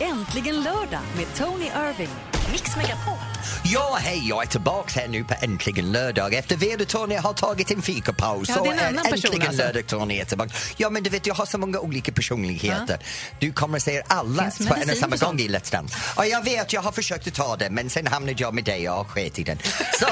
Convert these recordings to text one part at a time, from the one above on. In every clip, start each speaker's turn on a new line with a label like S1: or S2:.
S1: Äntligen lördag med Tony Irving. Mix Megapol.
S2: Ja, hej, jag är tillbaks här nu på Äntligen lördag efter Vedertornet har tagit en fikapaus.
S3: Ja, det är en
S2: Så
S3: annan person
S2: Äntligen
S3: alltså.
S2: lördag Tony är tillbaka. Ja, men du vet, jag har så många olika personligheter. Du kommer att säga alla
S3: Finns
S2: på en och
S3: medicin
S2: samma
S3: för
S2: gång i Let's Dance. Ja, jag vet, jag har försökt att ta det, men sen hamnade jag med dig och har skett i den. Så...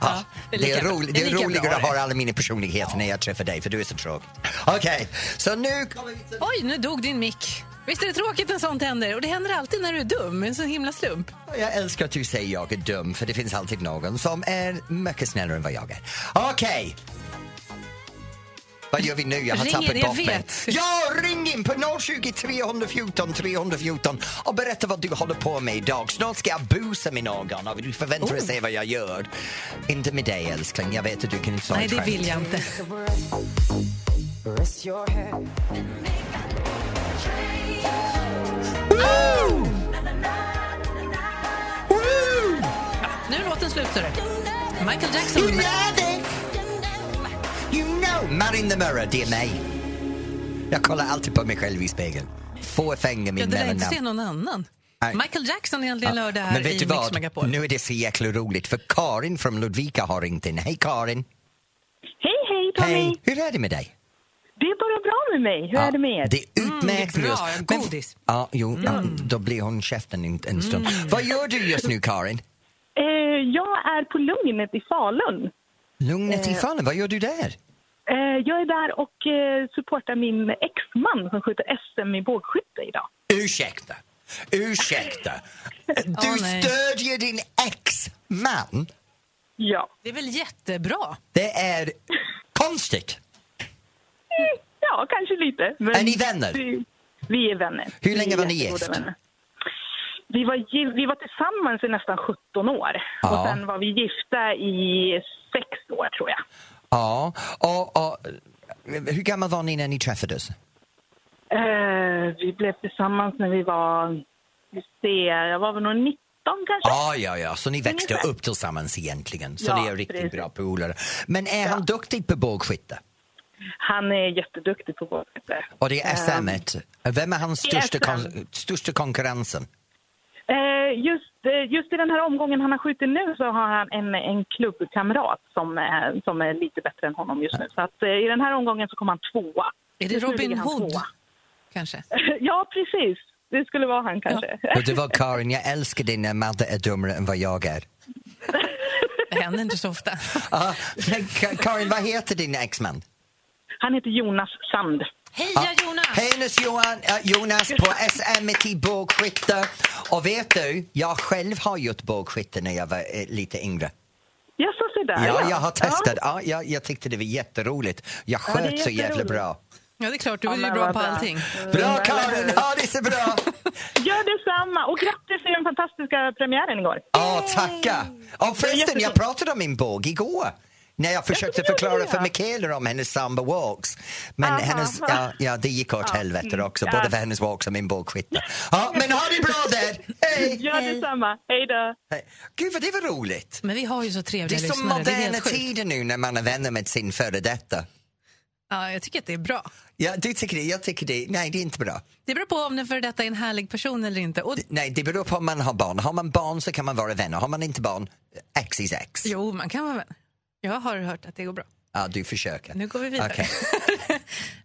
S2: Ja,
S3: det är
S2: det, är
S3: lika bra.
S2: roligt,
S3: Det
S2: det
S3: är
S2: är
S3: lika
S2: roligare
S3: bra
S2: att
S3: det.
S2: ha alla mina personligheter när jag träffar dig, för du är så tråkig. Okej, så nu kommer vi till...
S3: Oj, nu dog din mick. Visst är det tråkigt när sånt händer? Och det händer alltid när du är dum. En sån himla slump.
S2: Jag älskar att du säger jag är dum, för det finns alltid någon som är mycket snällare än vad jag är. Okej! Vad gör vi nu? Jag har
S3: Ring in,
S2: tappat
S3: jag
S2: bort mig.
S3: vet.
S2: Ja, ring in på 020 314 314 och berätta vad du håller på med idag. Snart ska jag busa med någon och du förväntar
S3: Oh.
S2: dig att se vad jag gör. Inte med dig älskling, jag vet att du kan inte ta
S3: Nej,
S2: ett
S3: det
S2: skämt.
S3: vill jag inte.
S2: Woo! Woo!
S3: Nu är låten slut, hörru. Michael
S2: You
S3: Jackson.
S2: love it. You know. Man in the mirror, det är mig. Jag kollar alltid på mig själv i spegeln. Fåfänga
S3: Jag
S2: min
S3: lär inte se
S2: mellannamn.
S3: någon annan.
S2: Nej.
S3: Michael Jackson är äntligen lördag här
S2: Men vet
S3: i
S2: du
S3: Mix
S2: vad?
S3: Megapol.
S2: Nu är det så jäkla roligt för Karin från Ludvika har ringt in. Hej Karin!
S4: Hej, hej Tommy!
S2: Hej! Hur är det med dig?
S4: Det är bara bra med mig. Hur
S2: Ja,
S4: är det med er?
S2: Det är utmärkt
S3: det är
S2: med
S3: bra.
S2: oss.
S3: Mm, En
S2: Men-
S3: godis. Mm.
S2: Ja, jo, ja, då blir hon käften en, en stund. Vad gör du just nu Karin?
S4: Eh, jag är på Lugnet i Falun.
S2: Lugnet i fallen, vad gör du där?
S4: Eh, jag är där och eh, supportar min exman som skjuter SM i bågskytte idag.
S2: Ursäkta, ursäkta. Du
S3: Åh, nej.
S2: stödjer din ex-man?
S4: Ja.
S3: Det är väl jättebra?
S2: Det är konstigt.
S4: Mm, ja, kanske lite. Men
S2: Är ni vänner?
S4: Vi, vi är vänner.
S2: Hur länge
S4: Vi är
S2: var ni
S4: jättegoda
S2: gift?
S4: vänner. Vi var, gi- vi var tillsammans i nästan 17 år.
S2: Ja.
S4: Och sen var vi gifta i sex år, tror jag.
S2: Ja, och, och, hur gammal var ni när ni träffades?
S4: Eh, vi blev tillsammans när vi var... Vi ser, jag var väl nog 19 kanske.
S2: Ja, ja, ja, så ni växte
S4: Ungefär.
S2: upp tillsammans egentligen. Så
S4: Ja,
S2: ni är riktigt
S4: precis.
S2: bra polare. Men är han duktig på bågskytte?
S4: Han är jätteduktig på båtskytte.
S2: Och det är SM. -et. Vem är hans
S4: Det är
S2: största, kon- största konkurrensen?
S4: Eh, just, eh, just i den här omgången han har skjutit nu så har han en, en klubbkamrat som, är- som är lite bättre än honom just nu. Så att, eh, i den här omgången så kom han tvåa.
S3: Är det
S4: Just nu ligger
S3: Robin
S4: han
S3: Hood?
S4: tvåa.
S3: Kanske.
S4: ja, precis. Det skulle vara han kanske.
S2: Och det var Karin, jag älskar dig när Madde är dummare än vad jag är.
S3: Det händer inte så ofta.
S2: Ja, men Ka- Karin, vad heter din exman?
S4: Han heter Jonas Sand.
S3: Heja Jonas!
S2: Hennes Johan, eh, Jonas på SMT i bågskytte. Och vet du, jag själv har gjort bågskytte när jag var eh, lite yngre.
S4: Ja, så se där.
S2: Ja, jag har testat.
S4: Ja.
S2: Ja, jag, jag tyckte det var jätteroligt. Jag
S4: Ja, det är
S2: sköt så jävla
S4: jätteroligt.
S2: bra.
S3: Ja, det är klart. Du är
S4: Ja,
S3: ju
S4: men
S3: bra
S4: vad
S3: på allting.
S2: Bra
S4: Mm, eller
S2: Karin,
S4: hur?
S2: ha det så bra!
S4: Gör detsamma! Och grattis till den fantastiska premiären igår.
S2: Ja, tacka! Och förresten, jag
S4: jättefint.
S2: pratade om min båg igår. När jag försökte
S4: det gjorde
S2: förklara för
S4: jag.
S2: Michaela om hennes samba walks. Men
S4: Aha.
S2: hennes, ja, ja, det gick åt helvete också, både
S4: Ja.
S2: för hennes walks och min bågskytte. Ja, men ha det bra där! Hej!
S4: Gör detsamma. Hej då!
S2: Hej. Gud vad det var roligt!
S3: Men vi har ju så
S2: Det
S3: trevliga
S2: är som
S3: lyssnare. Det är
S2: moderna
S3: helt sjukt.
S2: tider nu när man är vänner med sin före detta.
S3: Ja, jag tycker att det är bra.
S2: Ja, du tycker det, jag tycker det. Nej, det är inte bra.
S3: Det beror på om den före detta är en härlig person eller inte. Och,
S2: Nej, det beror på om man har barn. Har man barn så kan man vara vänner. Har man inte barn, X is X.
S3: jo, man kan vara vän. Jag har hört att det går bra.
S2: Ja, du försöker.
S3: Nu går vi vidare.
S2: Okej.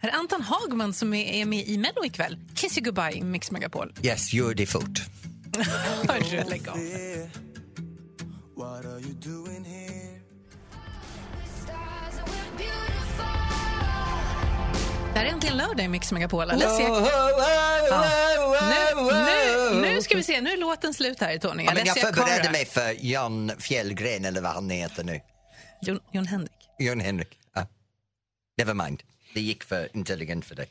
S3: Här är Anton Hagman som är är med i Mello ikväll. Kiss you goodbye, Mix Megapol.
S2: Yes, gör det fort.
S3: Hörru, lägg av.
S5: What are you doing here?
S3: Det här är äntligen lördag i Mix Megapol. Alessia
S2: Oh, oh, oh, oh, oh,
S3: Nu,
S2: oh.
S3: nu, nu ska vi se, nu är låten slut här Tony.
S2: Ja, men jag
S3: Alessia
S2: förberedde
S3: Cara.
S2: mig för Jan Fjällgren, eller vad han heter nu.
S3: Jon, Jon Henrik.
S2: Jan Henrik. Ah. Never mind, det gick för intelligent för dig.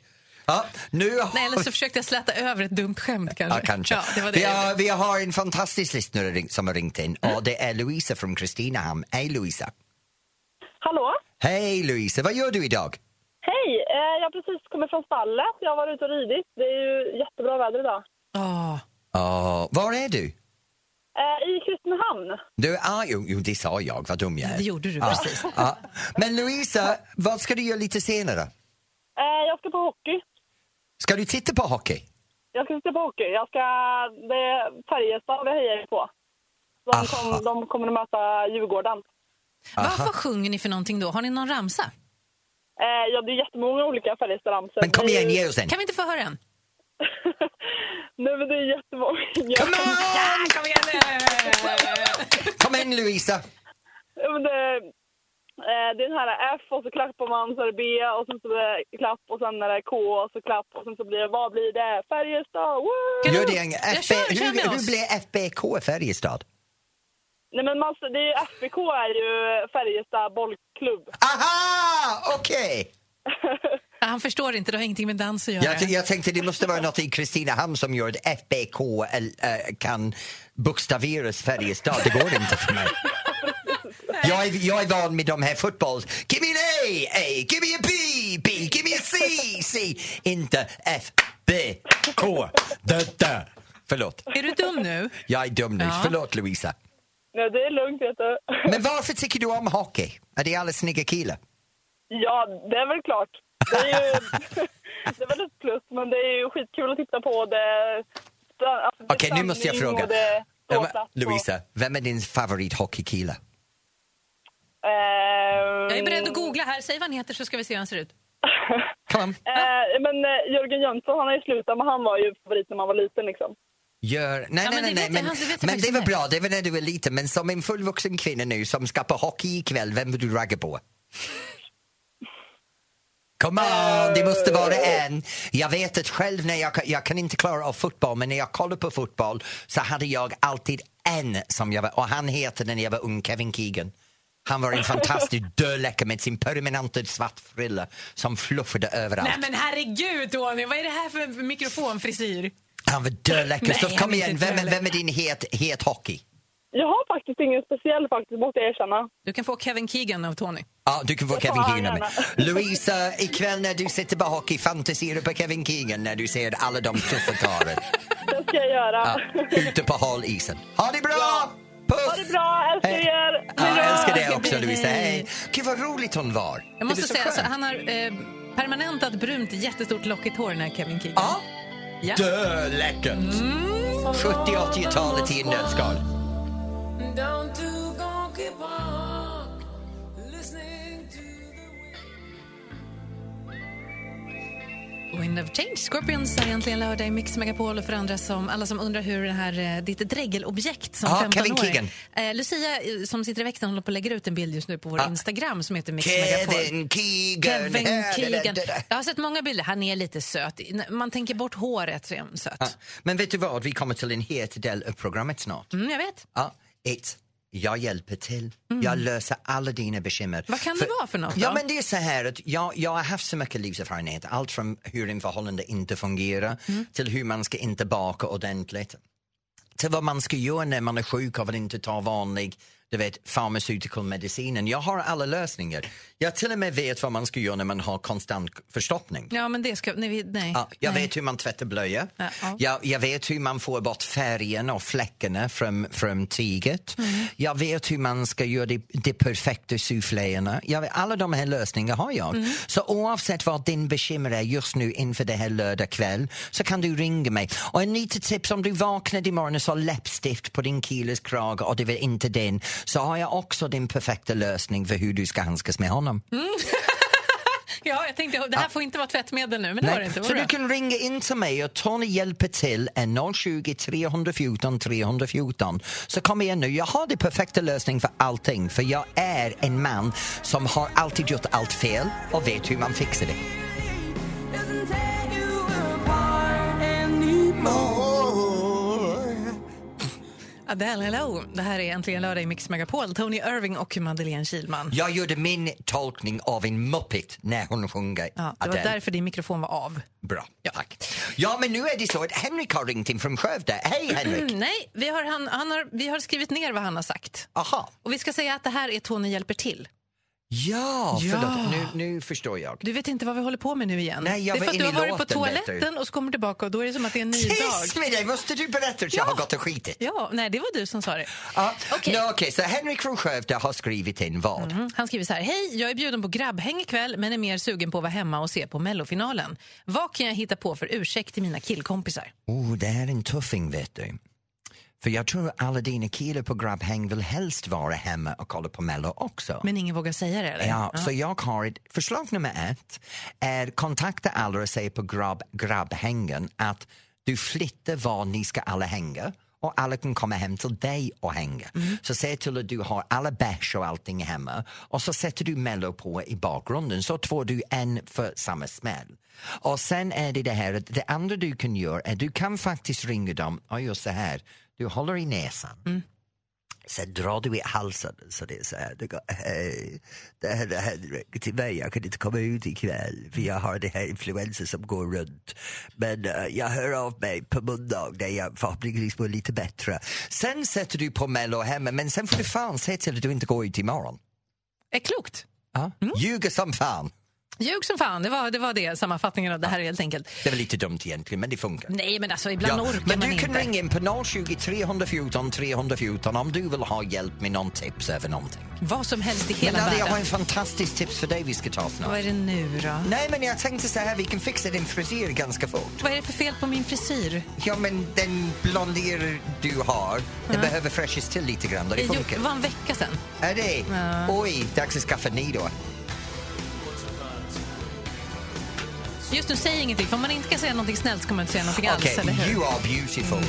S2: Ja, nu har
S3: Nej, eller så försökte jag släta över ett dumt skämt kanske.
S2: Ja, kanske.
S3: Ja, det var det.
S2: Vi, har, vi har en fantastisk lyssnare ring- som har ringt in och det är Louisa från Kristinehamn. Hej Louisa!
S6: Hallå?
S2: Hej Louisa, vad gör du idag?
S6: Hej! Eh, jag har precis kommit från stallet. Jag har varit ute och ridit. Det är ju jättebra väder idag.
S3: Åh,
S2: Åh, var är du?
S6: Eh, I Kristinehamn.
S2: Du, ah, jo, jo, det sa jag, vad dum jag är.
S3: det gjorde du precis.
S2: Ja. Men Louisa, vad ska du göra lite senare?
S6: Eh, jag ska på hockey.
S2: Ska du titta på hockey?
S4: Jag ska titta på hockey. Jag ska, det är Färjestad vi hejar på. De,
S2: Aha.
S4: kom, de kommer att möta Djurgården.
S3: Vad, vad sjunger ni för någonting då? Har ni någon ramsa?
S4: Eh, ja, det är jättemånga olika Färjestadramsor.
S2: Men kom
S4: Det är
S2: igen,
S4: ju-
S2: ge oss en.
S3: Kan vi inte få höra en?
S4: Nej, men det är jättemånga.
S2: Come on!
S3: Kom igen
S2: Kom igen Louisa!
S4: Ja, men det, eh, det är den här F och så klappar man så är det B och sen så blir det klapp och sen är det K och så klapp och sen så blir det vad blir det? Färjestad! Woo!
S3: Kan
S2: Gör
S3: du-
S2: det en
S3: Jag
S2: FB,
S3: kör- kör med
S2: hur, hur
S3: oss.
S2: blir FBK i Färjestad?
S4: Nej men man, det är ju FBK är ju Färjestad bollklubb.
S2: Aha! Okej!
S3: Ja, Han förstår inte, det har ingenting med dans att göra.
S2: Jag, t- jag tänkte det måste vara något i Kristinehamn som gör att FBK el- eh, kan bokstaveras Färjestad. Det går inte för mig. Jag är, jag är van med de här fotbolls... Give me an A, A, give me a B, B, give me a C, C. Inte F, B, K, D, D. Förlåt,
S3: Är du dum nu?
S2: jag är dum nu.
S3: Ja.
S2: Förlåt Louisa.
S4: Nej det är lugnt vet du.
S2: Men varför tycker du om hockey? Är det alla snygga killar?
S4: Ja det är väl klart. Det är ju det är väl ett plus men det är ju skitkul att titta på det. Alltså, det är
S2: Okej, nu måste jag
S4: stämning
S2: fråga.
S4: och det är
S2: Ja, men,
S4: ståplats och-
S2: Louisa, vem är din favorithockeykille?
S4: Ehm,
S3: Jag är beredd att googla här. Säg vad han heter så ska vi se hur han ser ut.
S2: Kom on.
S4: Eh, men eh, Jörgen Jönsson han har ju slutat, men han var ju favorit när man var liten. Liksom.
S2: Gör... Nej,
S3: Ja, men
S2: nej,
S3: det
S2: nej, nej,
S3: vet
S2: men,
S3: jag, det vet jag
S2: men
S3: faktiskt
S2: det var
S3: inte.
S2: bra, det var när du var liten. Men som en fullvuxen kvinna nu som ska på hockey ikväll, vem vill du ragga på? Come on, det måste vara en. Jag vet att själv när jag, jag kan inte klara av fotboll, men när jag kollar på fotboll så hade jag alltid en som jag var, och han heter när jag var ung, Kevin Keegan. Han var en fantastisk dödläcka med sin permanenta svart frilla som fluffade överallt.
S3: Nej men herregud Tony, vad är det här för mikrofonfrisyr?
S2: Han var dödläcker.
S3: Nej,
S2: Så
S3: han
S2: kom
S3: är
S2: igen,
S3: inte
S2: vem, är-
S3: dödläcker.
S2: vem är din het, het hockey?
S4: Jag har faktiskt ingen speciell, faktiskt, måste jag erkänna.
S3: Du kan få Kevin Keegan av Tony.
S2: Ja, du kan få Kevin
S4: fan,
S2: Keegan med.
S4: gärna.
S2: Louisa, ikväll när du sitter på hockey, fantiserar på Kevin Keegan när du ser alla de tuffa karlarna
S4: Det ska jag göra.
S2: ja, ute på halisen. Ha det bra! Puss!
S4: Ha det bra, älskar er!
S2: Ja,
S4: Hej
S2: jag
S4: då!
S2: älskar
S3: Hej
S2: dig
S3: då.
S2: också Louisa, hej!
S3: Hej.
S2: Gud vad roligt hon var! Det
S3: Jag måste
S2: var så
S3: säga, alltså,
S2: skönt.
S3: han har eh, permanentat brunt jättestort lockigt hår den här Kevin Keegan.
S2: Ja,
S3: Ja.
S2: dödläckert! 70-80-talet i en nötskal.
S3: Wind of Change, Scorpions är egentligen lördag i Mix Megapol och för andra som, alla som undrar hur det här, eh, ditt dregelobjekt som
S2: Ja,
S3: 15
S2: Kevin Keegan.
S3: Eh, Lucia eh, som sitter i växeln håller på att lägga ut en bild just nu på vår
S2: Ja.
S3: Instagram som heter Mix Megapol.
S2: Kevin Keegan!
S3: Kevin
S2: här, det där,
S3: Keegan.
S2: det där.
S3: Jag har sett många bilder. Han är lite söt. Man tänker bort håret så är han söt.
S2: Ja, Men vet du vad, vi kommer till en het del av programmet snart.
S3: Mm, jag vet.
S2: Ja, ett. Jag hjälper till. Jag löser alla dina bekymmer.
S3: Mm. Vad kan det vara för något
S2: Ja,
S3: då?
S2: men det är så här att jag, jag har haft så mycket livserfarenhet. Allt från hur en förhållande inte fungerar
S3: Mm.
S2: till hur man ska inte baka ordentligt. Till vad man ska göra när man är sjuk och vill inte ta vanlig du vet, pharmaceutical medicinen. Jag har alla lösningar. Jag till och med vet vad man ska göra när man har konstant förstoppning.
S3: Ja, men det ska... Nej. vi- nej.
S2: Ja, jag
S3: nej.
S2: vet hur man tvättar blöjor.
S3: Ja, ja.
S2: Jag, jag vet hur man får bort färgen och fläckarna från, från tyget.
S3: Mm.
S2: Jag vet hur man ska göra de, de perfekta souffléerna. Jag vet, alla de här lösningarna har jag.
S3: Mm.
S2: Så oavsett vad din bekymmer är just nu inför det här lördag kväll så kan du ringa mig. Och en litet tips om du vaknade imorgon och så har läppstift på din killes krage och det var inte din så har jag också din perfekta lösning för hur du ska handskas med honom.
S3: Ja, jag tänkte, det här får inte vara tvättmedel nu, men det var det inte. Vad
S2: Så
S3: bra.
S2: du kan ringa in till mig och Tony hjälper till eh, en 020 314 314. Så kom igen nu, jag har den perfekta lösningen för allting för jag är en man som har alltid gjort allt fel och vet hur man fixar det.
S3: Adele, hello. Det här är Äntligen lördag i Mix Megapol. Tony Irving och Madeleine Kilman.
S2: Jag gjorde min tolkning av en muppet när hon sjunger
S3: Ja, det var
S2: Adele.
S3: därför din mikrofon var av.
S2: Bra, tack. Ja, men nu är det så att Henrik har ringt in från Skövde. Hej Henrik!
S3: Nej, vi har, han, han har, vi har skrivit ner vad han har sagt.
S2: Aha.
S3: Och vi ska säga att det här är Tony hjälper till.
S2: Ja,
S3: Ja.
S2: förlåt. Nu, nu förstår jag.
S3: Du vet inte vad vi håller på med nu igen.
S2: Nej, jag
S3: det är
S2: var
S3: för att du
S2: inne
S3: har
S2: i
S3: varit på
S2: låten, vet du.
S3: toiletten och så kommer du tillbaka och då är det som att det är en ny
S2: Tyst
S3: dag.
S2: med dig! Måste du berätta hur jag har gått och skitit?
S3: Ja, nej, det var du som sa det.
S2: Ja.
S3: Okej.
S2: Nå, okej, så Henrik från Skövde har skrivit in vad?
S3: Mm. Han skriver så här. Hej, jag är bjuden på grabbhäng ikväll men är mer sugen på att vara hemma och se på mellofinalen. Vad kan jag hitta på för ursäkt till mina killkompisar?
S2: Oh, det är en tuffing, vet du. För jag tror att alla dina killar på grabbhäng vill helst vara hemma och kolla på Mello också.
S3: Men ingen vågar säga det eller?
S2: Ja, så jag har ett förslag nummer ett är kontakta alla och säg på grabb, grabbhängen att du flyttar var ni ska alla hänga och alla kan komma hem till dig och hänga. Så se till att du har alla bärs och allting hemma och så sätter du Mello på i bakgrunden så får du en för samma smäll. Och sen är det det här, att det andra du kan göra är du kan faktiskt ringa dem och gör så här, du håller i näsan Sen drar du i halsen så det är så här. Du går, hej, det här är Henrik till mig, jag kan inte komma ut ikväll för jag har det här influensa som går runt. Men eh, jag hör av mig på måndag när jag förhoppningsvis mår lite bättre. Sen sätter du på Mello hemma men sen får du fan se till att du inte går ut imorgon.
S3: Är klokt.
S2: Ja.
S3: Mm.
S2: Ljuga som fan.
S3: Ljug som fan, det var det, var det sammanfattningen av det här helt enkelt.
S2: Det var lite dumt egentligen men det funkar.
S3: Nej, men alltså ibland orkar
S2: men
S3: man
S2: du kan
S3: inte.
S2: ringa in på 020 314 314 om du vill ha hjälp med någon tips över någonting.
S3: Vad som helst i
S2: Men
S3: hela
S2: Nadia, jag har
S3: världen.
S2: en fantastisk tips för dig vi ska ta snart.
S3: Vad är det nu då?
S2: Nej, men jag tänkte så här, vi kan fixa din frisyr ganska fort.
S3: Vad är det för fel på min frisyr?
S2: Ja, men den blonder du har,
S3: Mm.
S2: den behöver fräschas till lite grann. och Det
S3: Det gjorde-
S2: funkar.
S3: var en vecka sedan.
S2: Är det? Oj, dags att skaffa ny då.
S3: Just nu, säg ingenting. För om man inte kan säga någonting snällt så kommer man inte säga någonting
S2: Okej,
S3: alls, eller hur?
S2: you are beautiful.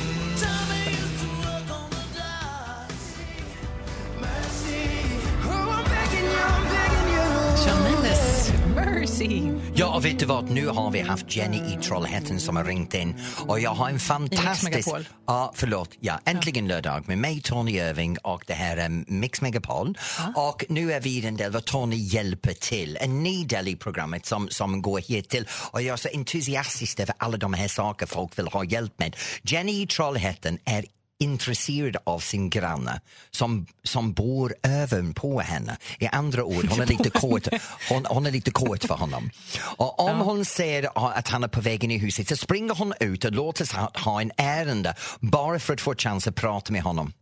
S3: Shawn Mendes, Mercy.
S2: Ja, och vet du vad? Nu har vi haft Jenny i Trollhättan som har ringt in och jag har en fantastisk...
S3: Megapol.
S2: Ja, förlåt. Ja, äntligen lördag med mig, Tony Irving och det här är Mix Megapol. Och nu är vi i den del där Tony hjälper till. En ny del i programmet som, som går hit till. Och jag är så entusiastisk över alla de här saker folk vill ha hjälp med. Jenny i Trollhättan är intresserad av sin granne som, som bor över på henne. I andra ord, hon är lite kort, hon, hon är lite kort för honom. Och om hon ser att han är på väg in i huset så springer hon ut och låter sig ha- ha en ärende bara för att få chans att prata med honom.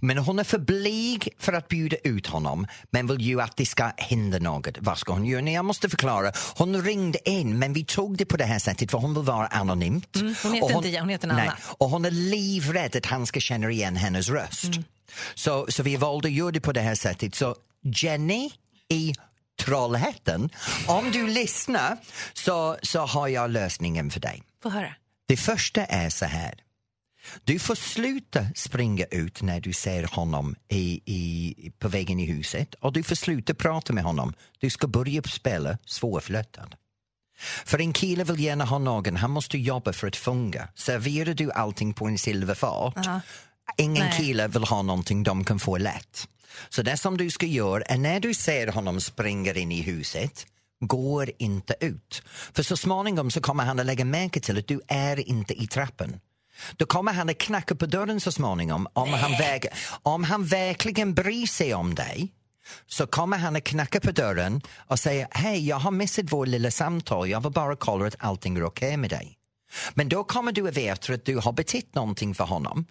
S2: Men hon är för blyg för att bjuda ut honom men vill ju att det ska hända något. Vad ska hon göra? Nej, jag måste förklara. Hon ringde in men vi tog det på det här sättet för hon vill vara anonymt.
S3: Mm, hon heter
S2: Och
S3: inte- hon heter en annan.
S2: och hon är livrädd att han ska känna igen hennes röst. Så, så vi valde att göra det på det här sättet. Så Jenny i Trollhättan, om du lyssnar så, så har jag lösningen för dig.
S3: Få höra.
S2: Det första är så här. Du får sluta springa ut när du ser honom i, i, på vägen i huset och du får sluta prata med honom. Du ska börja spela svårflörtad. För en kille vill gärna ha någon, han måste jobba för att funga. Serverar du allting på en silverfat, ingen
S3: Nej.
S2: kille vill ha någonting de kan få lätt. Så det som du ska göra är när du ser honom springa in i huset, går inte ut. För så småningom så kommer han att lägga märke till att du är inte i trappen. Då kommer han att knacka på dörren så småningom. Om han, väg, om han verkligen bryr sig om dig så kommer han att knacka på dörren och säga hej, jag har missat vårt lilla samtal, jag vill bara kolla att allting är okej med dig. Men då kommer du att veta att du har betytt någonting för honom.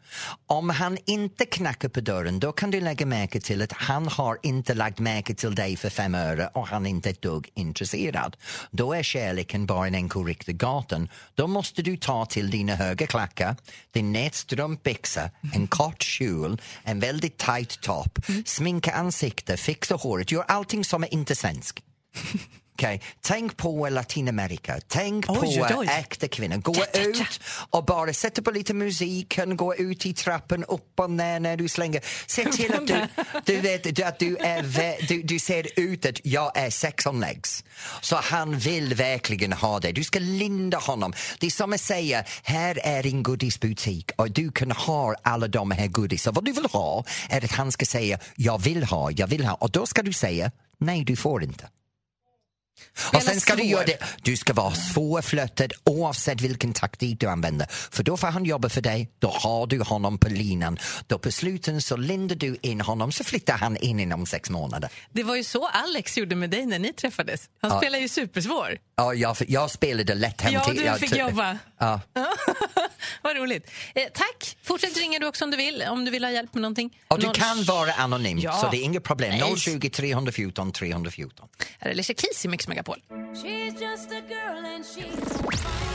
S2: Om han inte knackar på dörren då kan du lägga märke till att han har inte lagt märke till dig för fem öre och han är inte ett dugg intresserad. Då är kärleken bara en enkel riktig gatan. Då måste du ta till dina höga klackar, din nätstrumpbyxa, en kort kjol, en väldigt tight topp, sminka ansiktet, fixa håret, gör allting som är inte svensk. Okej, Tänk på Latinamerika, tänk
S3: Oj,
S2: på
S3: oj, oj.
S2: äkta kvinnor. Gå ut och bara sätta på lite musiken, gå ut i trappen, upp och ner när du slänger. Se till att du, du, vet, att du, är, vä- du, du ser ut att jag är sex on legs. Så han vill verkligen ha dig. Du ska linda honom. Det är som att säga, här är din godisbutik och du kan ha alla de här godisar. Vad du vill ha är att han ska säga, jag vill ha, jag vill ha. Och då ska du säga, nej du får inte. Och sen ska du
S3: svår.
S2: göra det, du ska vara svårflörtad oavsett vilken taktik du använder. För då får han jobba för dig, då har du honom på linan. Då på sluten så lindar du in honom så flyttar han in inom sex månader.
S3: Det var ju så Alex gjorde med dig när ni träffades. Han spelar ju supersvår.
S2: Ja, jag, jag spelade lätt hem
S3: Ja,
S2: till...
S3: du
S2: jag
S3: fick
S2: ty-
S3: jobba.
S2: Ja.
S3: Vad roligt. Eh, tack. Fortsätt ringa du också om du vill, om du vill ha hjälp med någonting.
S2: Och du
S3: Noll-
S2: kan vara anonym,
S3: Ja.
S2: så det är inget problem.
S3: Nej.
S2: 020 314 314.
S3: Här är Alicia Keys i Mix Megapol.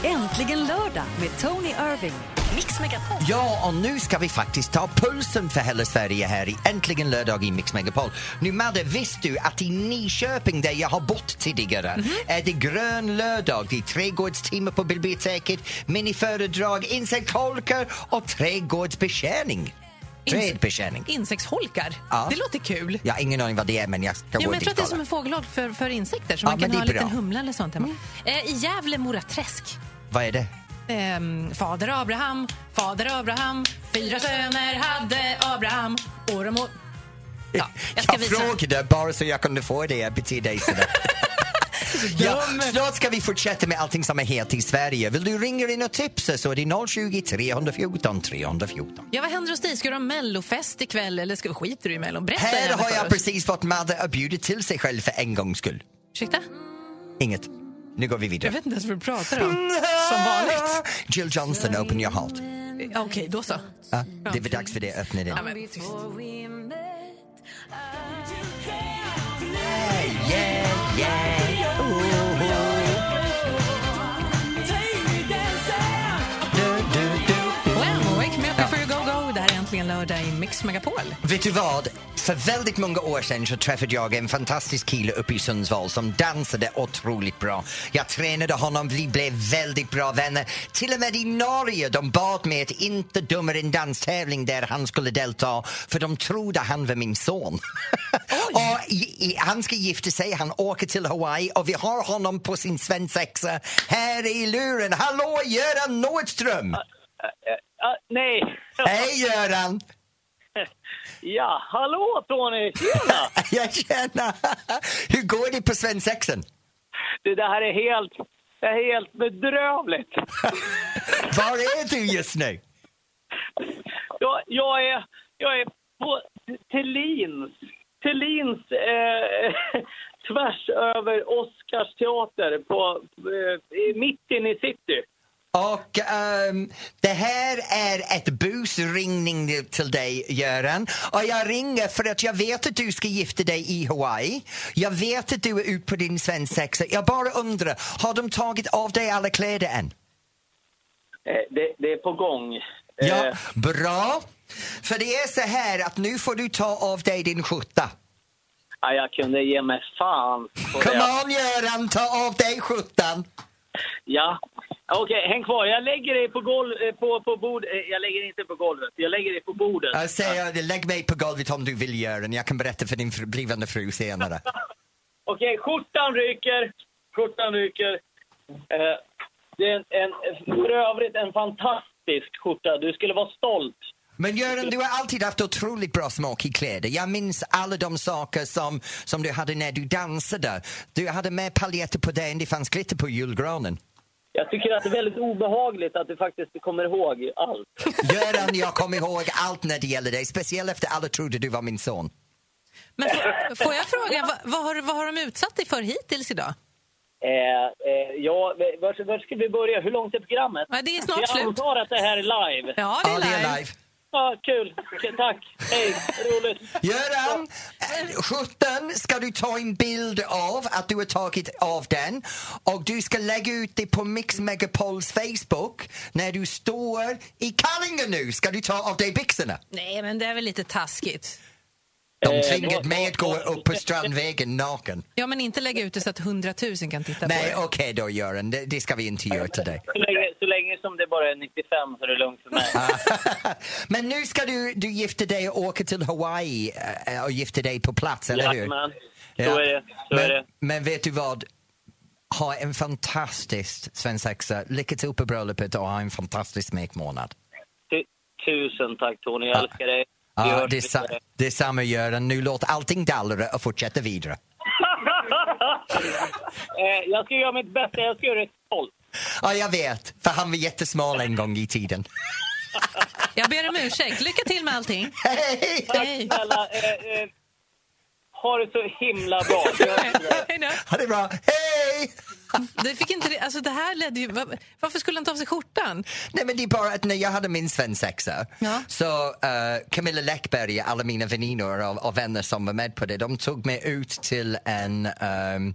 S1: Äntligen lördag med Tony Irving. Mix Megapol.
S2: Ja, och nu ska vi faktiskt ta pulsen för hela Sverige här i Äntligen lördag i Mix Megapol. Nu Madde, visste du att i Nyköping där jag har bott tidigare
S3: Mhm.
S2: är det grön lördag. Det är trädgårdstimmar på biblioteket, miniföredrag, insektsholkar och trädgårdsbetjäning. Trädbetjäning.
S3: Insektsholkar.
S2: Ja.
S3: Det låter kul.
S2: Jag har ingen aning vad det är men jag ska
S3: Ja,
S2: gå
S3: men jag
S2: dit
S3: tror att det
S2: och
S3: är som
S2: kolla.
S3: en fågelholk för, för insekter. Så
S2: Ja,
S3: man
S2: men
S3: kan
S2: det
S3: ha en
S2: är
S3: liten
S2: bra. Mm.
S3: humla eller sånt hemma. Eh, I Gävle, Mora Träsk.
S2: Vad är det?
S3: Ehm, fader Abraham, fader Abraham, fyra söner hade Abraham. År och må- Ja, jag ska
S2: jag
S3: visa.
S2: frågade bara så jag kunde få det. Jag beter dig sådär. Ja, snart ska vi fortsätta med allting som är helt i Sverige. Vill du ringa in och tipsa så är det 020 314 314.
S3: Ja, vad händer hos dig? Ska du ha mellofest ikväll eller ska, skiter du i mellon? Berätta
S2: Här
S3: gärna
S2: har
S3: för
S2: jag
S3: oss.
S2: precis fått Madde att bjuda till sig själv för en gångs skull.
S3: Ursäkta?
S2: Inget. Nu går vi
S3: Jag
S2: vidare.
S3: vet inte ens vad du pratar om. Som
S2: Mm.
S3: vanligt.
S2: Jill Johnson, open your heart.
S3: Ja, Okej, då så.
S2: Ja, det är väl dags för det. Öppna det.
S3: Ja, men,
S2: Yeah, yeah, yeah. Oh, oh. Du, du, du, du.
S3: well, wake me up before you go go. Det här är äntligen lördag i Mix Megapol.
S2: Vet du vad? För väldigt många år sedan så träffade jag en fantastisk kille uppe i Sundsvall som dansade otroligt bra. Jag tränade honom, vi blev väldigt bra vänner. Till och med i Norge de bad mig att inte döma en danstävling där han skulle delta för de trodde han var min son. och i, i, han ska gifta sig, han åker till Hawaii och vi har honom på sin svensexa här i luren. Hallå Göran Nordström!
S6: Ja, nej.
S2: Hej Göran!
S6: Ja, hallå Tony! Tjena!
S2: Jag känner. Hur går det på svensexen?
S6: Du, det här är helt, det är helt bedrövligt.
S2: Var är du just nu?
S6: Jag, jag, är, jag är på Thelins, Thelins eh, tvärs över Oscars teater på, eh, i- mitt inne i city.
S2: Och ehm, det här är ett busringning till dig, Göran. Och jag ringer för att jag vet att du ska gifta dig i Hawaii. Jag vet att du är ute på din svensexa. Jag bara undrar, har de tagit av dig alla kläder än?
S6: Eh, det, det är på gång.
S2: Ja,
S6: Eh,
S2: bra. För det är så här att nu får du ta av dig din skjorta.
S6: ja, jag kunde ge mig fan på
S2: Come
S6: det.
S2: on, Göran, ta av dig skjortan.
S6: Ja. Okej, häng kvar. Jag lägger dig på golv, eh, på, på bord. eh, Jag lägger dig inte på golvet. Jag lägger dig på bordet.
S2: Jag säger, lägg mig på golvet om du vill Göran. Jag kan berätta för din fru, blivande fru senare.
S6: Okej, skjortan ryker. Skjortan ryker. Eh, det är en, en, för övrigt en fantastisk skjorta. Du skulle vara stolt.
S2: Men Göran, du har alltid haft otroligt bra smak i kläder. Jag minns alla de saker som, som du hade när du dansade. Du hade mer paljetter på dig än det fanns glitter på julgranen.
S6: Jag tycker att det är väldigt obehagligt att du faktiskt kommer ihåg allt.
S2: Göran, jag kommer ihåg allt när det gäller dig. Speciellt efter alla trodde du var min son.
S3: Men får, får jag fråga, vad, vad, har, vad har de utsatt dig för hittills idag?
S6: Eh, eh, ja, var, var ska vi börja? Hur långt är programmet?
S3: Ja, det är snart
S6: jag
S3: slut.
S6: antar att det här är live. Ja,
S3: Ja, det
S2: Ja,
S3: är
S2: det
S3: live.
S2: är live.
S6: kul. Okej, Tack. Hej, roligt.
S2: Göran, eh, 17 ska du ta en bild av att du har tagit av den och du ska lägga ut det på Mix Megapols Facebook när du står i Kallinge nu ska du ta av dig byxorna.
S3: Nej, men det är väl lite taskigt.
S2: De
S6: Eh,
S2: tvingade
S6: vad-
S2: mig att gå
S6: vad-
S2: upp på Strandvägen naken.
S3: Ja, men inte lägga ut det så att hundratusen kan titta på
S2: Nej,
S3: det.
S2: okej då Göran, det, det ska vi inte göra till dig.
S6: Så länge, så länge som det bara är 95 så är det lugnt för mig.
S2: Men nu ska du, du gifta dig och åka till Hawaii eh, och gifta dig på plats, eller hur?
S6: Jajamän. Så
S2: Ja.
S6: är det. Så
S2: men,
S6: är det.
S2: men vet du vad? Ha en fantastisk svensexa. Lycka till på bröllopet och ha en fantastisk smekmånad.
S6: Tu- Tusen tack Tony, jag älskar dig.
S2: Ja,
S6: Vi hörs
S2: det, sa,
S6: vidare.
S2: det samma Göran. Nu låt allting dallra och fortsätta vidare.
S6: Eh, jag ska göra mitt bästa. Jag ska göra ett håll.
S2: Ja, jag vet. För han var jättesmal en gång i tiden.
S3: Jag ber om ursäkt. Lycka till med allting.
S2: Hej!
S3: Hej.
S6: Snälla, eh, eh, ha det så himla bra.
S3: Hej då.
S2: Ha det bra. Hej!
S3: Det fick inte, alltså det här ledde ju, var- varför skulle han ta av sig skjortan?
S2: Nej men det är bara att när jag hade min svensexa
S3: Ja.
S2: så eh, Camilla Läckberg, alla mina väninnor och, och vänner som var med på det, de tog mig ut till en, ehm,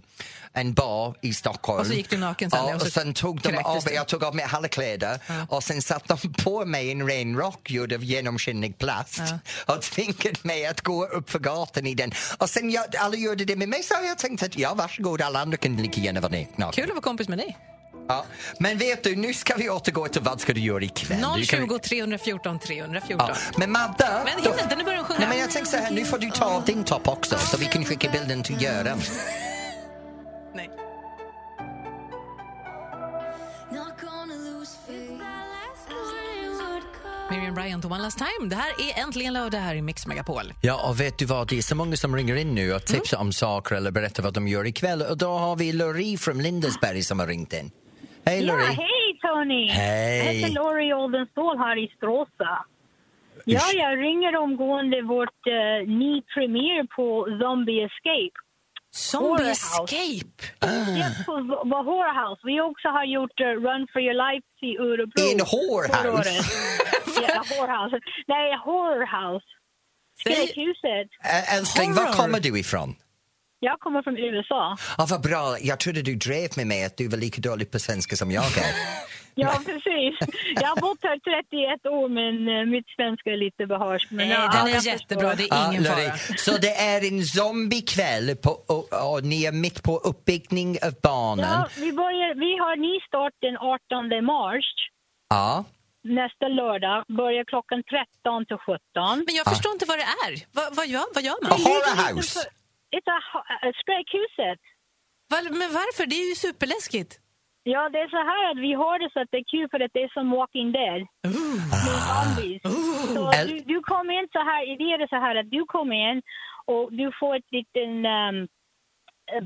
S2: en bar i Stockholm.
S3: Och så gick du naken sen,
S2: Ja,
S3: och
S2: och,
S3: så
S2: sen tog de
S3: kräktes
S2: av
S3: du.
S2: mig, jag tog av mig alla kläder och sen satt de på mig en ren rock gjord av genomskinlig plast och tvingade mig att gå upp för gatan i den. Och sen jag, alla gjorde det med mig så jag tänkte att ja varsågod, alla andra kan lika gärna vara nakna.
S3: Kul att vara kompis med dig.
S2: Ja. Men vet du, nu ska vi återgå till vad ska du göra ikväll? Du kan-
S3: 020 314 314.
S2: Ja. Men Madde...
S3: Men
S2: då-
S3: hinner inte, nu börjar de sjunga.
S2: Nej, men jag tänkte så här, nu får du ta av din topp också så vi kan skicka bilden till Göran.
S3: Nej. Miriam Bryant och One Last Time. Det här är äntligen lördag här i Mix Megapol.
S2: Ja, och vet du vad, det är så många som ringer in nu och
S3: Mm.
S2: tipsar om saker eller berättar vad de gör ikväll och då har vi Lori från Lindesberg som har ringt in. Hej
S7: Ja,
S2: Lori!
S7: hej Tony!
S2: Hej.
S7: Jag heter Lori Oldenstål här i Stråsa. Ja, jag ringer omgående vårt eh, ny premiär på Zombie Escape.
S3: Zombie
S7: Horrorhouse.
S3: Escape.
S7: Yes, på Z- på Horrorhouse. Vi också har gjort eh, Run for your life i Örebro.
S2: In whorehouse?
S7: förra året. ja, Horrorhouse. Nej, Horrorhouse. Skräckhuset.
S2: Ä- Älskling, var
S3: Horror.
S2: kommer du ifrån?
S7: Jag kommer från USA.
S2: Ja, vad bra, jag trodde du drev med mig att du var lika dålig på svenska som jag är.
S7: Ja, precis. Jag har bott här 31 år, men eh, mitt svenska är lite behörs. Men,
S3: Nej,
S7: ja,
S3: den
S7: jag
S3: är
S7: förstår.
S3: jättebra. Det är ingen
S2: Ja,
S3: fara.
S2: Lori. Så det är en zombiekväll på, och, och ni är mitt på uppbyggning av barnen.
S7: Ja, vi, börjar, vi har ny start den 18 mars.
S2: Ja.
S7: Nästa lördag börjar klockan 13 till 17.
S3: Men jag förstår inte vad det är. Vad, vad, gör, vad gör man?
S2: A horror house.
S7: Det är ha- äh, Skräckhuset.
S3: Var, men varför? Det är ju superläskigt.
S7: Ja, det är så här att vi har det så att det är kul för att det är som Walking Dead. Med zombies. Så
S2: Äl-
S7: du, du kommer in så här, det är det så här att du kommer in och du får ett liten ehm,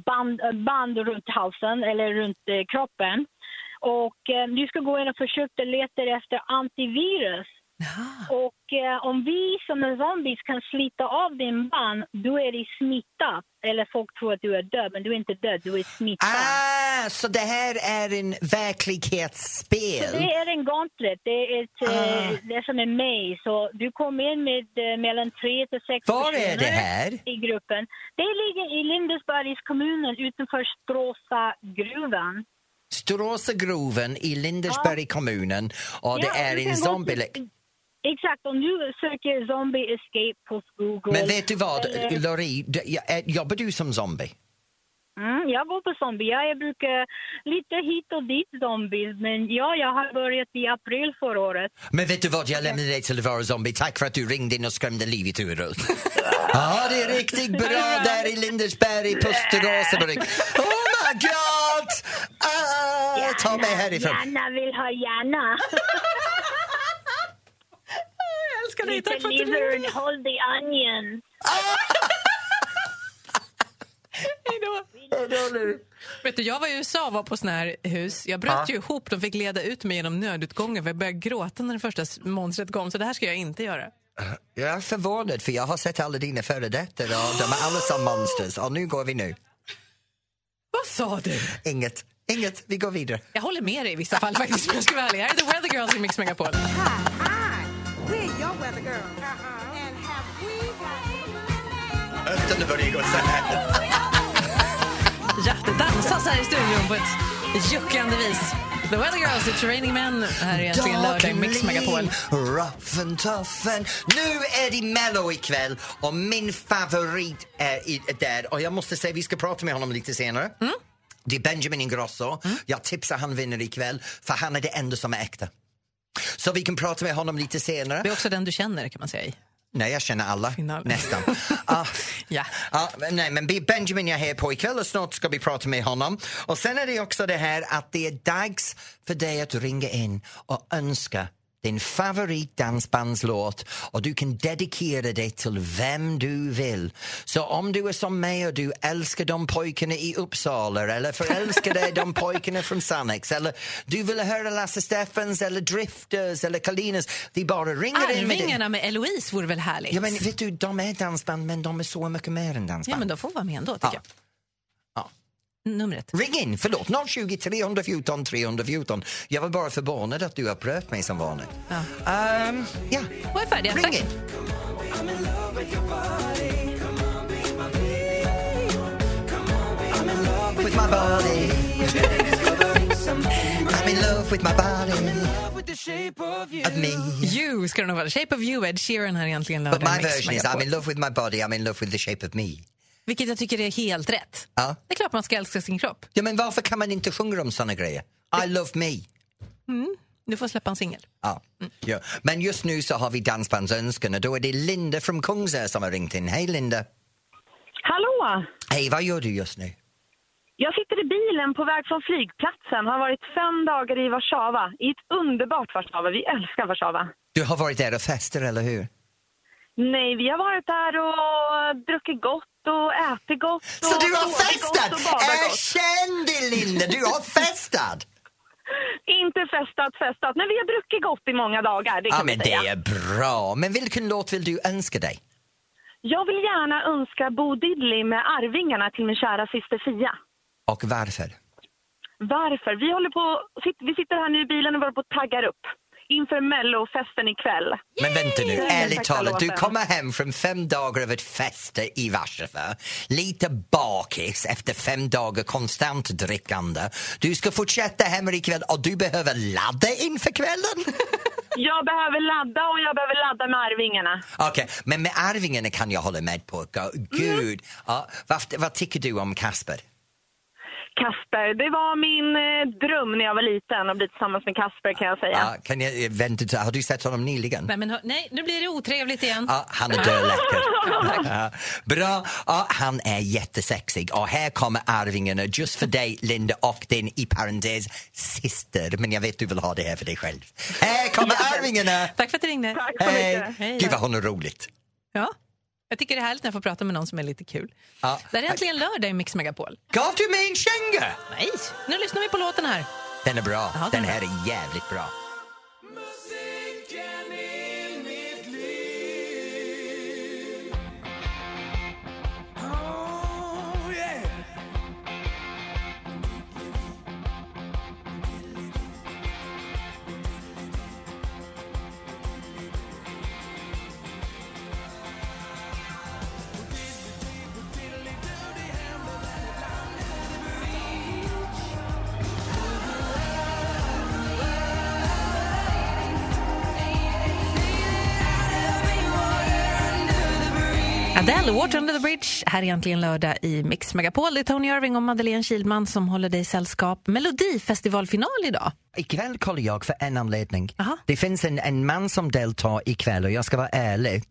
S7: band, band runt halsen eller runt eh, kroppen. Och eh, du ska gå in och försöka leta efter antivirus. Och eh, om vi som är zombies kan slita av din band, då är det smittat. Eller folk tror att du är död, men du är inte död, du är smittad.
S2: Ah, så det här är en verklighetsspel?
S7: Det är en gauntlet. Det är, ett,
S2: Ah.
S7: eh, det är som en maze. Så du kommer in med eh, mellan tre till sex
S2: Var är
S7: personer
S2: det här?
S7: i gruppen. Det ligger i Lindesbergs kommunen utanför Stråsagruvan.
S2: Stråsagruven i Lindesberg kommun och det
S7: Ja,
S2: är
S7: du
S2: en
S7: kan gå till-
S2: zombielek.
S7: Exakt, om du söker zombie escape på Google.
S2: Men vet du vad,
S7: eller-
S2: Lori, d- ja, eh, jobbar du som zombie?
S7: Mm, jag går på zombie. Ja, jag brukar lite hit och dit zombies. Men ja, jag har börjat i april förra året.
S2: Men vet du vad, jag lämnar dig till att vara zombie. Tack för att du ringde in och skrämde livet ur oss. Ja, det är riktigt bra där i Lindesberg på Stråsabruk. Oh my god! Ah, ta mig härifrån.
S7: Gärna vill ha gärna.
S3: Jag älskar dig. Tack
S7: Lite
S3: för att du
S7: liver
S3: ringde.
S7: and hold the onion.
S3: Hej då. Vet du, jag var i USA och var på såna här hus. Jag bröt ju ihop. De fick leda ut mig genom nödutgången för jag började gråta när det första s- monstret kom. Så det här ska jag inte göra.
S2: Jag är förvånad för jag har sett alla dina före detta och de är alla som monsters. Och nu går vi nu.
S3: Vad sa du?
S2: Inget, inget, vi går vidare.
S3: Jag håller med dig i vissa fall faktiskt. om Jag ska vara ärlig. Här är The Weather Girls i Mix Megapol.
S2: Höften börjar gå så här.
S3: Ja, det dansas här i studion på ett juckande vis. The Weather Girls, It's Raining Men. Här är äntligen lördag i Mix Megapol.
S2: rough and tough and... Nu är det Mello ikväll och min favorit är i- där. Och jag måste säga, vi ska prata med honom lite senare.
S3: Mm.
S2: Det är Benjamin Ingrosso. Jag tipsar han vinner ikväll för han är det enda som är äkta. Så vi kan prata med honom lite senare.
S3: Det är också den du känner kan man säga. i.
S2: Nej, jag känner alla.
S3: Final.
S2: Nästan. Ah.
S3: Ja.
S2: Ah, men nej, men det är Benjamin jag är här på ikväll och snart ska vi prata med honom. Och sen är det också det här att det är dags för dig att ringa in och önska din favoritdansbandslåt och du kan dedikera det till vem du vill. Så om du är som mig och du älskar de pojkarna i Uppsala eller förälskar dig i de pojkarna från Sannex eller du vill höra Lasse Steffans eller Drifters eller Kalinas, det är bara
S3: Ah,
S2: ringer in med det.
S3: Arvingarna med Eloise vore väl härligt?
S2: Ja, men vet du, de är dansband men de är så mycket mer än dansband.
S3: ja, men de får vara med ändå, tycker
S2: Ja.
S3: jag.
S2: Ja.
S3: Numret.
S2: Ring in, förlåt, 020 314 314. Jag var bara förvånad att du upprört mig som vanligt.
S3: Ja.
S2: Ehm, ja.
S3: Och är färdiga.
S2: Ring
S3: Tack.
S2: in. With my body. I'm in love with my body. Of me.
S3: You ska det nog vara. Shape of you, Ed Sheeran här egentligen
S2: But
S3: lördag.
S2: my
S3: i Mix
S2: version is
S3: Megapol.
S2: I'm in love with my body, I'm in love with the shape of me.
S3: Vilket jag tycker är helt rätt.
S2: Ja.
S3: Det är klart man ska älska sin kropp.
S2: Ja, men varför kan man inte sjunga om såna grejer? I love me.
S3: Du får släppa en singel.
S2: Ja.
S4: Mm.
S2: Ja. Men just nu så har vi dansbandsönskan och då är det Linda från Kungsör som har ringt in. Hej Linda!
S4: Hallå!
S2: Hej, vad gör du just nu?
S4: Jag sitter i bilen på väg från flygplatsen. Har varit fem dagar i Warszawa. I ett underbart Warszawa. Vi älskar Warszawa.
S2: Du har varit där och fester, eller hur?
S4: Nej, vi har varit där och eh, druckit gott och ätit gott.
S2: Så
S4: och
S2: du har
S4: sovit
S2: festat!
S4: Gott och badat gott.
S2: Erkänn det Linda, du har festat!
S4: Inte festat, festat. Men vi har druckit gott i många dagar, det kan
S2: Ja
S4: vi
S2: men det
S4: säga.
S2: är bra. Men vilken låt vill du önska dig?
S4: Jag vill gärna önska Bo Diddley med Arvingarna till min kära syster Fia.
S2: Och varför?
S4: Varför? Vi, håller på, sit- vi sitter här nu i bilen och håller på och taggar upp inför mellofesten ikväll.
S2: Men vänta nu,
S4: Yay!
S2: ärligt
S4: Perfekta
S2: talat, du
S4: låten.
S2: kommer hem från fem dagar av ett feste i Warszawa, lite bakis efter fem dagar konstant drickande. Du ska fortsätta hemma ikväll och du behöver ladda inför kvällen.
S4: Jag behöver ladda och jag behöver ladda med Arvingarna.
S2: Okej, men med Arvingarna kan jag hålla med på.
S4: Mm.
S2: Gud, ja, vad, vad tycker du om Kasper?
S4: Kasper, det var min eh, dröm när jag var liten att bli tillsammans med Kasper kan jag säga.
S2: Ja, kan jag, eh, vänta, har du sett honom nyligen?
S3: Nej, men, hör- nej, nu blir det otrevligt igen.
S2: Ja, han är dödläcker. Ja, bra. Ja, han är jättesexig. Och här kommer Arvingarna just för dig, Linda, och din i parentes syster. Men jag vet du vill ha det här för dig själv. Här kommer Arvingarna!
S3: Tack för att du ringde.
S4: Tack så
S2: Hej!
S4: mycket.
S3: Hej.
S2: Gud vad hon är roligt.
S3: Ja. Jag tycker det är härligt när jag får prata med någon som är lite kul.
S2: Ja.
S3: Det här är äntligen lördag i Mix Megapol.
S2: Gav du mig en känga?
S3: Nej, nu lyssnar vi på låten här.
S2: Den är bra.
S3: Ja, den
S2: Den
S3: är
S2: här är jävligt bra.
S3: Adele, Water Under the Bridge. Här är äntligen lördag i Mix Megapol. Det är Tony Irving och Madeleine Kilman som håller dig sällskap. Melodifestivalfinal idag.
S2: Ikväll kollar jag för en anledning.
S3: Aha.
S2: Det finns en, en man som deltar ikväll och jag ska vara ärlig.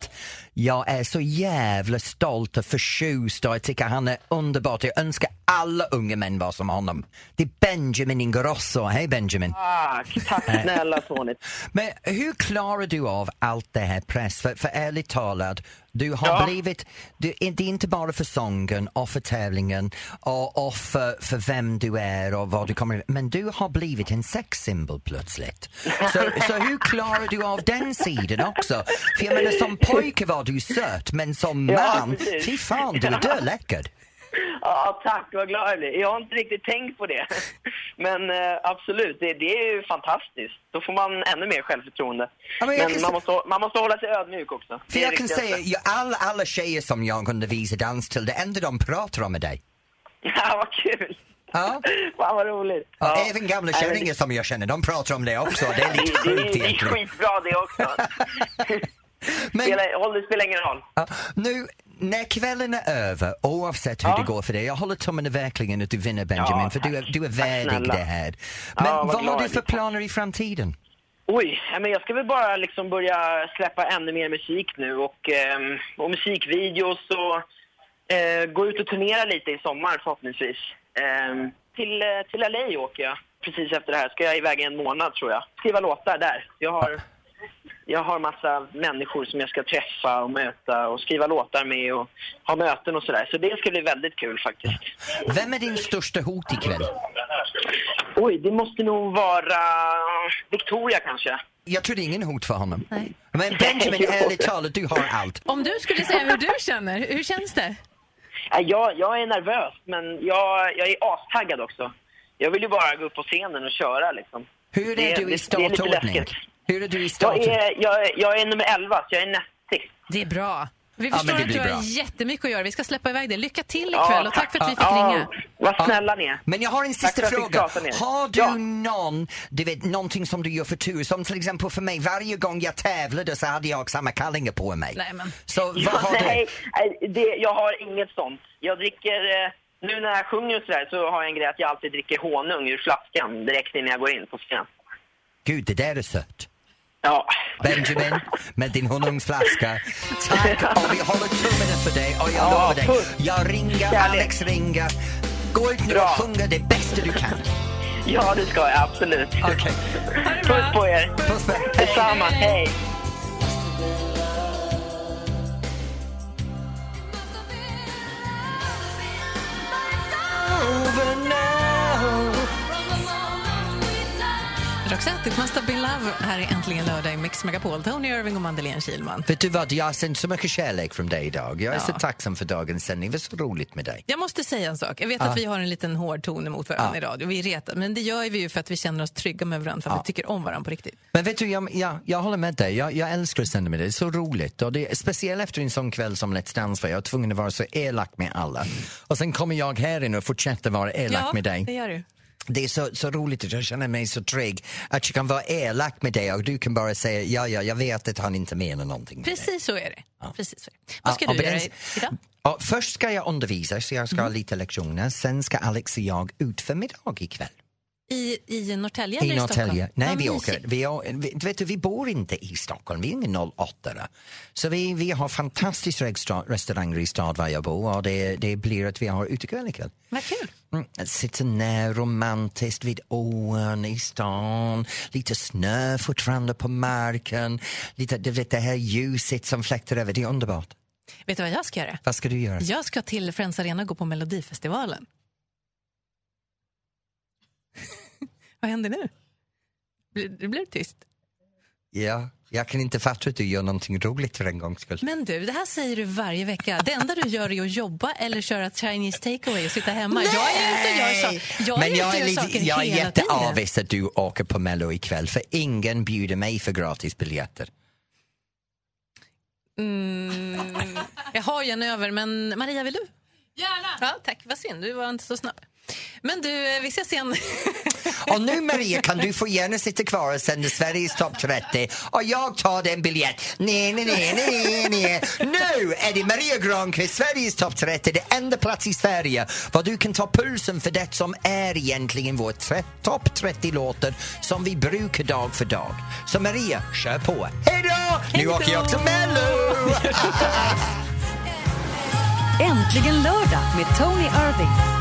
S2: Jag är så jävla stolt och förtjust och jag tycker han är underbart. Jag önskar alla unga män var som honom. Det är Benjamin Ingrosso. Hej Benjamin!
S6: Tack, tack snälla Tony.
S2: Men hur klarar du av allt det här press? För, för ärligt talat, du har
S6: Ja.
S2: blivit... Du, det är inte bara för sången och för tävlingen och, och för, för vem du är och vad du kommer... Men du har blivit en sexsymbol plötsligt. Så, så hur klarar du av den sidan också? För jag menar, som pojke var du söt, men som
S6: Ja,
S2: man,
S6: precis.
S2: fy fan, du är dödläcker.
S6: Ja, tack, vad glad jag blir. Jag har inte riktigt tänkt på det. Men eh, absolut, det, det är ju fantastiskt. Då får man ännu mer självförtroende.
S2: Ja, men
S6: men
S2: jag kan
S6: man,
S2: se-
S6: måste, man måste hålla sig ödmjuk också.
S2: För
S6: Det är
S2: jag kan
S6: det viktigaste.
S2: säga, ju- alla, alla tjejer som jag kunde visa dans till, det enda de pratar om är dig.
S6: Ja, vad kul!
S2: Ja.
S6: Fan, vad roligt.
S2: Ja, Även gamla
S6: Nej, men
S2: kärringar som jag känner, de pratar om det också. Det är
S6: Det,
S2: lite
S6: det, det,
S2: sjukt
S6: det är
S2: egentligen.
S6: skitbra det också.
S2: Men
S6: Spelar, håll, det spelar ingen roll.
S2: ja, nu, när kvällen är över, oavsett hur
S6: Ja.
S2: det går för dig, jag håller tummen i verkligen att du vinner Benjamin,
S6: Ja,
S2: för du är,
S6: tack.
S2: du är
S6: Tack
S2: värdig
S6: snälla.
S2: det här. Men
S6: vad
S2: vad har
S6: glad
S2: du för
S6: jag blir.
S2: planer i framtiden?
S6: Oj, ja, men jag ska väl bara liksom börja släppa ännu mer musik nu och, ehm, och musikvideos och eh, gå ut och turnera lite i sommar förhoppningsvis. Ehm, till, eh, till LA åker jag precis efter det här. Ska jag iväg i en månad tror jag. Skriva låtar där. Jag har
S8: jag har massa människor som jag ska träffa och möta och skriva låtar med och ha möten och sådär. Så det ska bli väldigt kul faktiskt.
S2: Vem är din största hot ikväll?
S8: Oj, det måste nog vara Victoria kanske.
S2: Jag tror det är ingen hot för honom.
S3: Nej.
S2: Men Benjamin, ärligt talat, du har allt.
S3: Om du skulle säga hur du känner, hur känns det?
S8: Nej, Äh, Jag, jag är nervös, men jag, jag är astaggad också. Jag vill ju bara gå upp på scenen och köra liksom.
S2: Hur
S8: Det-
S2: är du
S8: det-
S2: i
S8: det är lite
S2: startordning?
S8: läskigt.
S2: Hur är du i
S8: Jag
S2: startordning?
S8: är, jag, är- jag är nummer 11, så jag är näst sist.
S3: Det är bra. Vi
S2: Ja,
S3: förstår
S2: men det
S3: att du
S2: blir bra.
S3: har jättemycket att göra. Vi ska släppa iväg dig. Lycka till ikväll och tack för att vi fick
S8: Ja,
S3: ringa.
S8: Vad snälla ni är.
S2: Men jag har en
S8: för
S2: sista
S8: att jag fick
S2: fråga.
S8: prata med er.
S2: Har du
S8: Ja.
S2: någon, du vet, någonting som du gör för tur? Som till exempel för mig, varje gång jag tävlade så hade jag samma kallingar på mig.
S3: Nej, men-
S2: Så vad
S8: Ja,
S2: har
S8: nej,
S2: du?
S8: nej, det, jag har inget sånt. Jag dricker, eh, nu när jag sjunger och sådär så har jag en grej att jag alltid dricker honung ur flaskan direkt innan jag går in på scenen.
S2: Gud, det där är sött.
S8: Ja.
S2: Benjamin, med din honungsflaska. Tack och vi håller tummarna för dig och jag
S8: Ja,
S2: lovar dig,
S8: puss.
S2: jag ringer,
S8: Kärlek.
S2: Alex ringer. Gå ut nu och
S8: Bra.
S2: sjunga det bästa du kan.
S8: ja, det ska jag absolut.
S2: Okej,
S8: Puss på er.
S2: puss med. Hej.
S8: Detsamma, hej.
S3: Roxette, It must have been love. Här är äntligen lördag i Mix Megapol. Tony Irving och Madeleine Kilman.
S2: Vet du vad, jag har sänt så mycket kärlek från dig idag. Jag är så
S3: Ja.
S2: tacksam för dagens sändning. Det var så roligt med dig.
S3: Jag måste säga en sak. Jag vet att vi har en liten hård ton emot
S2: Ja.
S3: varandra i radio. Vi retar, men det gör vi ju för att vi känner oss trygga med varandra, för att vi tycker om varandra på riktigt.
S2: Men vet du, jag, jag, jag håller med dig. Jag, jag älskar att sända med dig. Det är så roligt. Och det, är- speciellt efter en sån kväll som Let's Dance var jag var tvungen att vara så elak med alla. Och sen kommer jag här inne och fortsätter vara elak
S3: ja,
S2: med
S3: det
S2: dig.
S3: gör du.
S2: Det är så, så roligt att jag känner mig så trygg att jag kan vara elak med dig och du kan bara säga ja, ja, jag vet att han inte menar någonting. med dig."
S3: Precis så är det. Precis så är det. Vad ska
S2: Ja,
S3: du
S2: och
S3: göra
S2: Benz-
S3: idag?
S2: Ja, först ska jag undervisa, så jag ska ha lite lektioner. Sen ska Alex och jag ut för middag ikväll.
S3: I, i Norrtälje
S2: I
S3: eller i Stockholm?
S2: Norrtälje. Nej,
S3: Vad
S2: vi
S3: mysigt.
S2: åker. Vi, å- vi, du vet, du, vi bor inte i Stockholm, vi är ingen 08 Så vi, vi har fantastiska regstra- restauranger i stad var jag bor och det, det blir att vi har utekväll ikväll.
S3: Vad kul.
S2: Mm. att Sitta ner romantiskt vid ån i stan, lite snö fortfarande på marken, lite, du vet, det här ljuset som fläktar över, det är underbart.
S3: Vet du vad jag ska göra?
S2: Vad ska du göra?
S3: Jag ska till Friends Arena och gå på Melodifestivalen. Vad händer nu? Blir- Det blev tyst.
S2: Ja, jag kan inte fatta att du gör någonting roligt för en gångs skull.
S3: Men du, det här säger du varje vecka. Det enda du gör är att jobba eller köra Chinese takeaway och sitta hemma. Jag är ute och gör, så, jag är
S2: Men
S3: ute och
S2: jag
S3: gör
S2: är,
S3: saker
S2: lite, jag är
S3: hela tiden.
S2: jätteavis att du åker på Mello ikväll för ingen bjuder mig för gratis biljetter.
S3: Jag har ju en över, men Maria, vill du? Gärna! Ja, tack, vad synd. Du var inte så snabb. Men du, eh, vi ses igen.
S2: Och nu Maria kan du få gärna sitta kvar och sända Sveriges topp 30 och jag tar den biljett. Nej, nej, nej, nej, nej, nej. Nu är det Maria Granqvist, Sveriges topp 30, det enda plats i Sverige var du kan ta pulsen för det som är egentligen vår tre- topp 30-låtar som vi brukar dag för dag. Så Maria, kör på. Hej då! Nu
S3: Hej
S2: åker
S3: då!
S2: jag till Mello!
S1: Äntligen lördag med Tony Irving.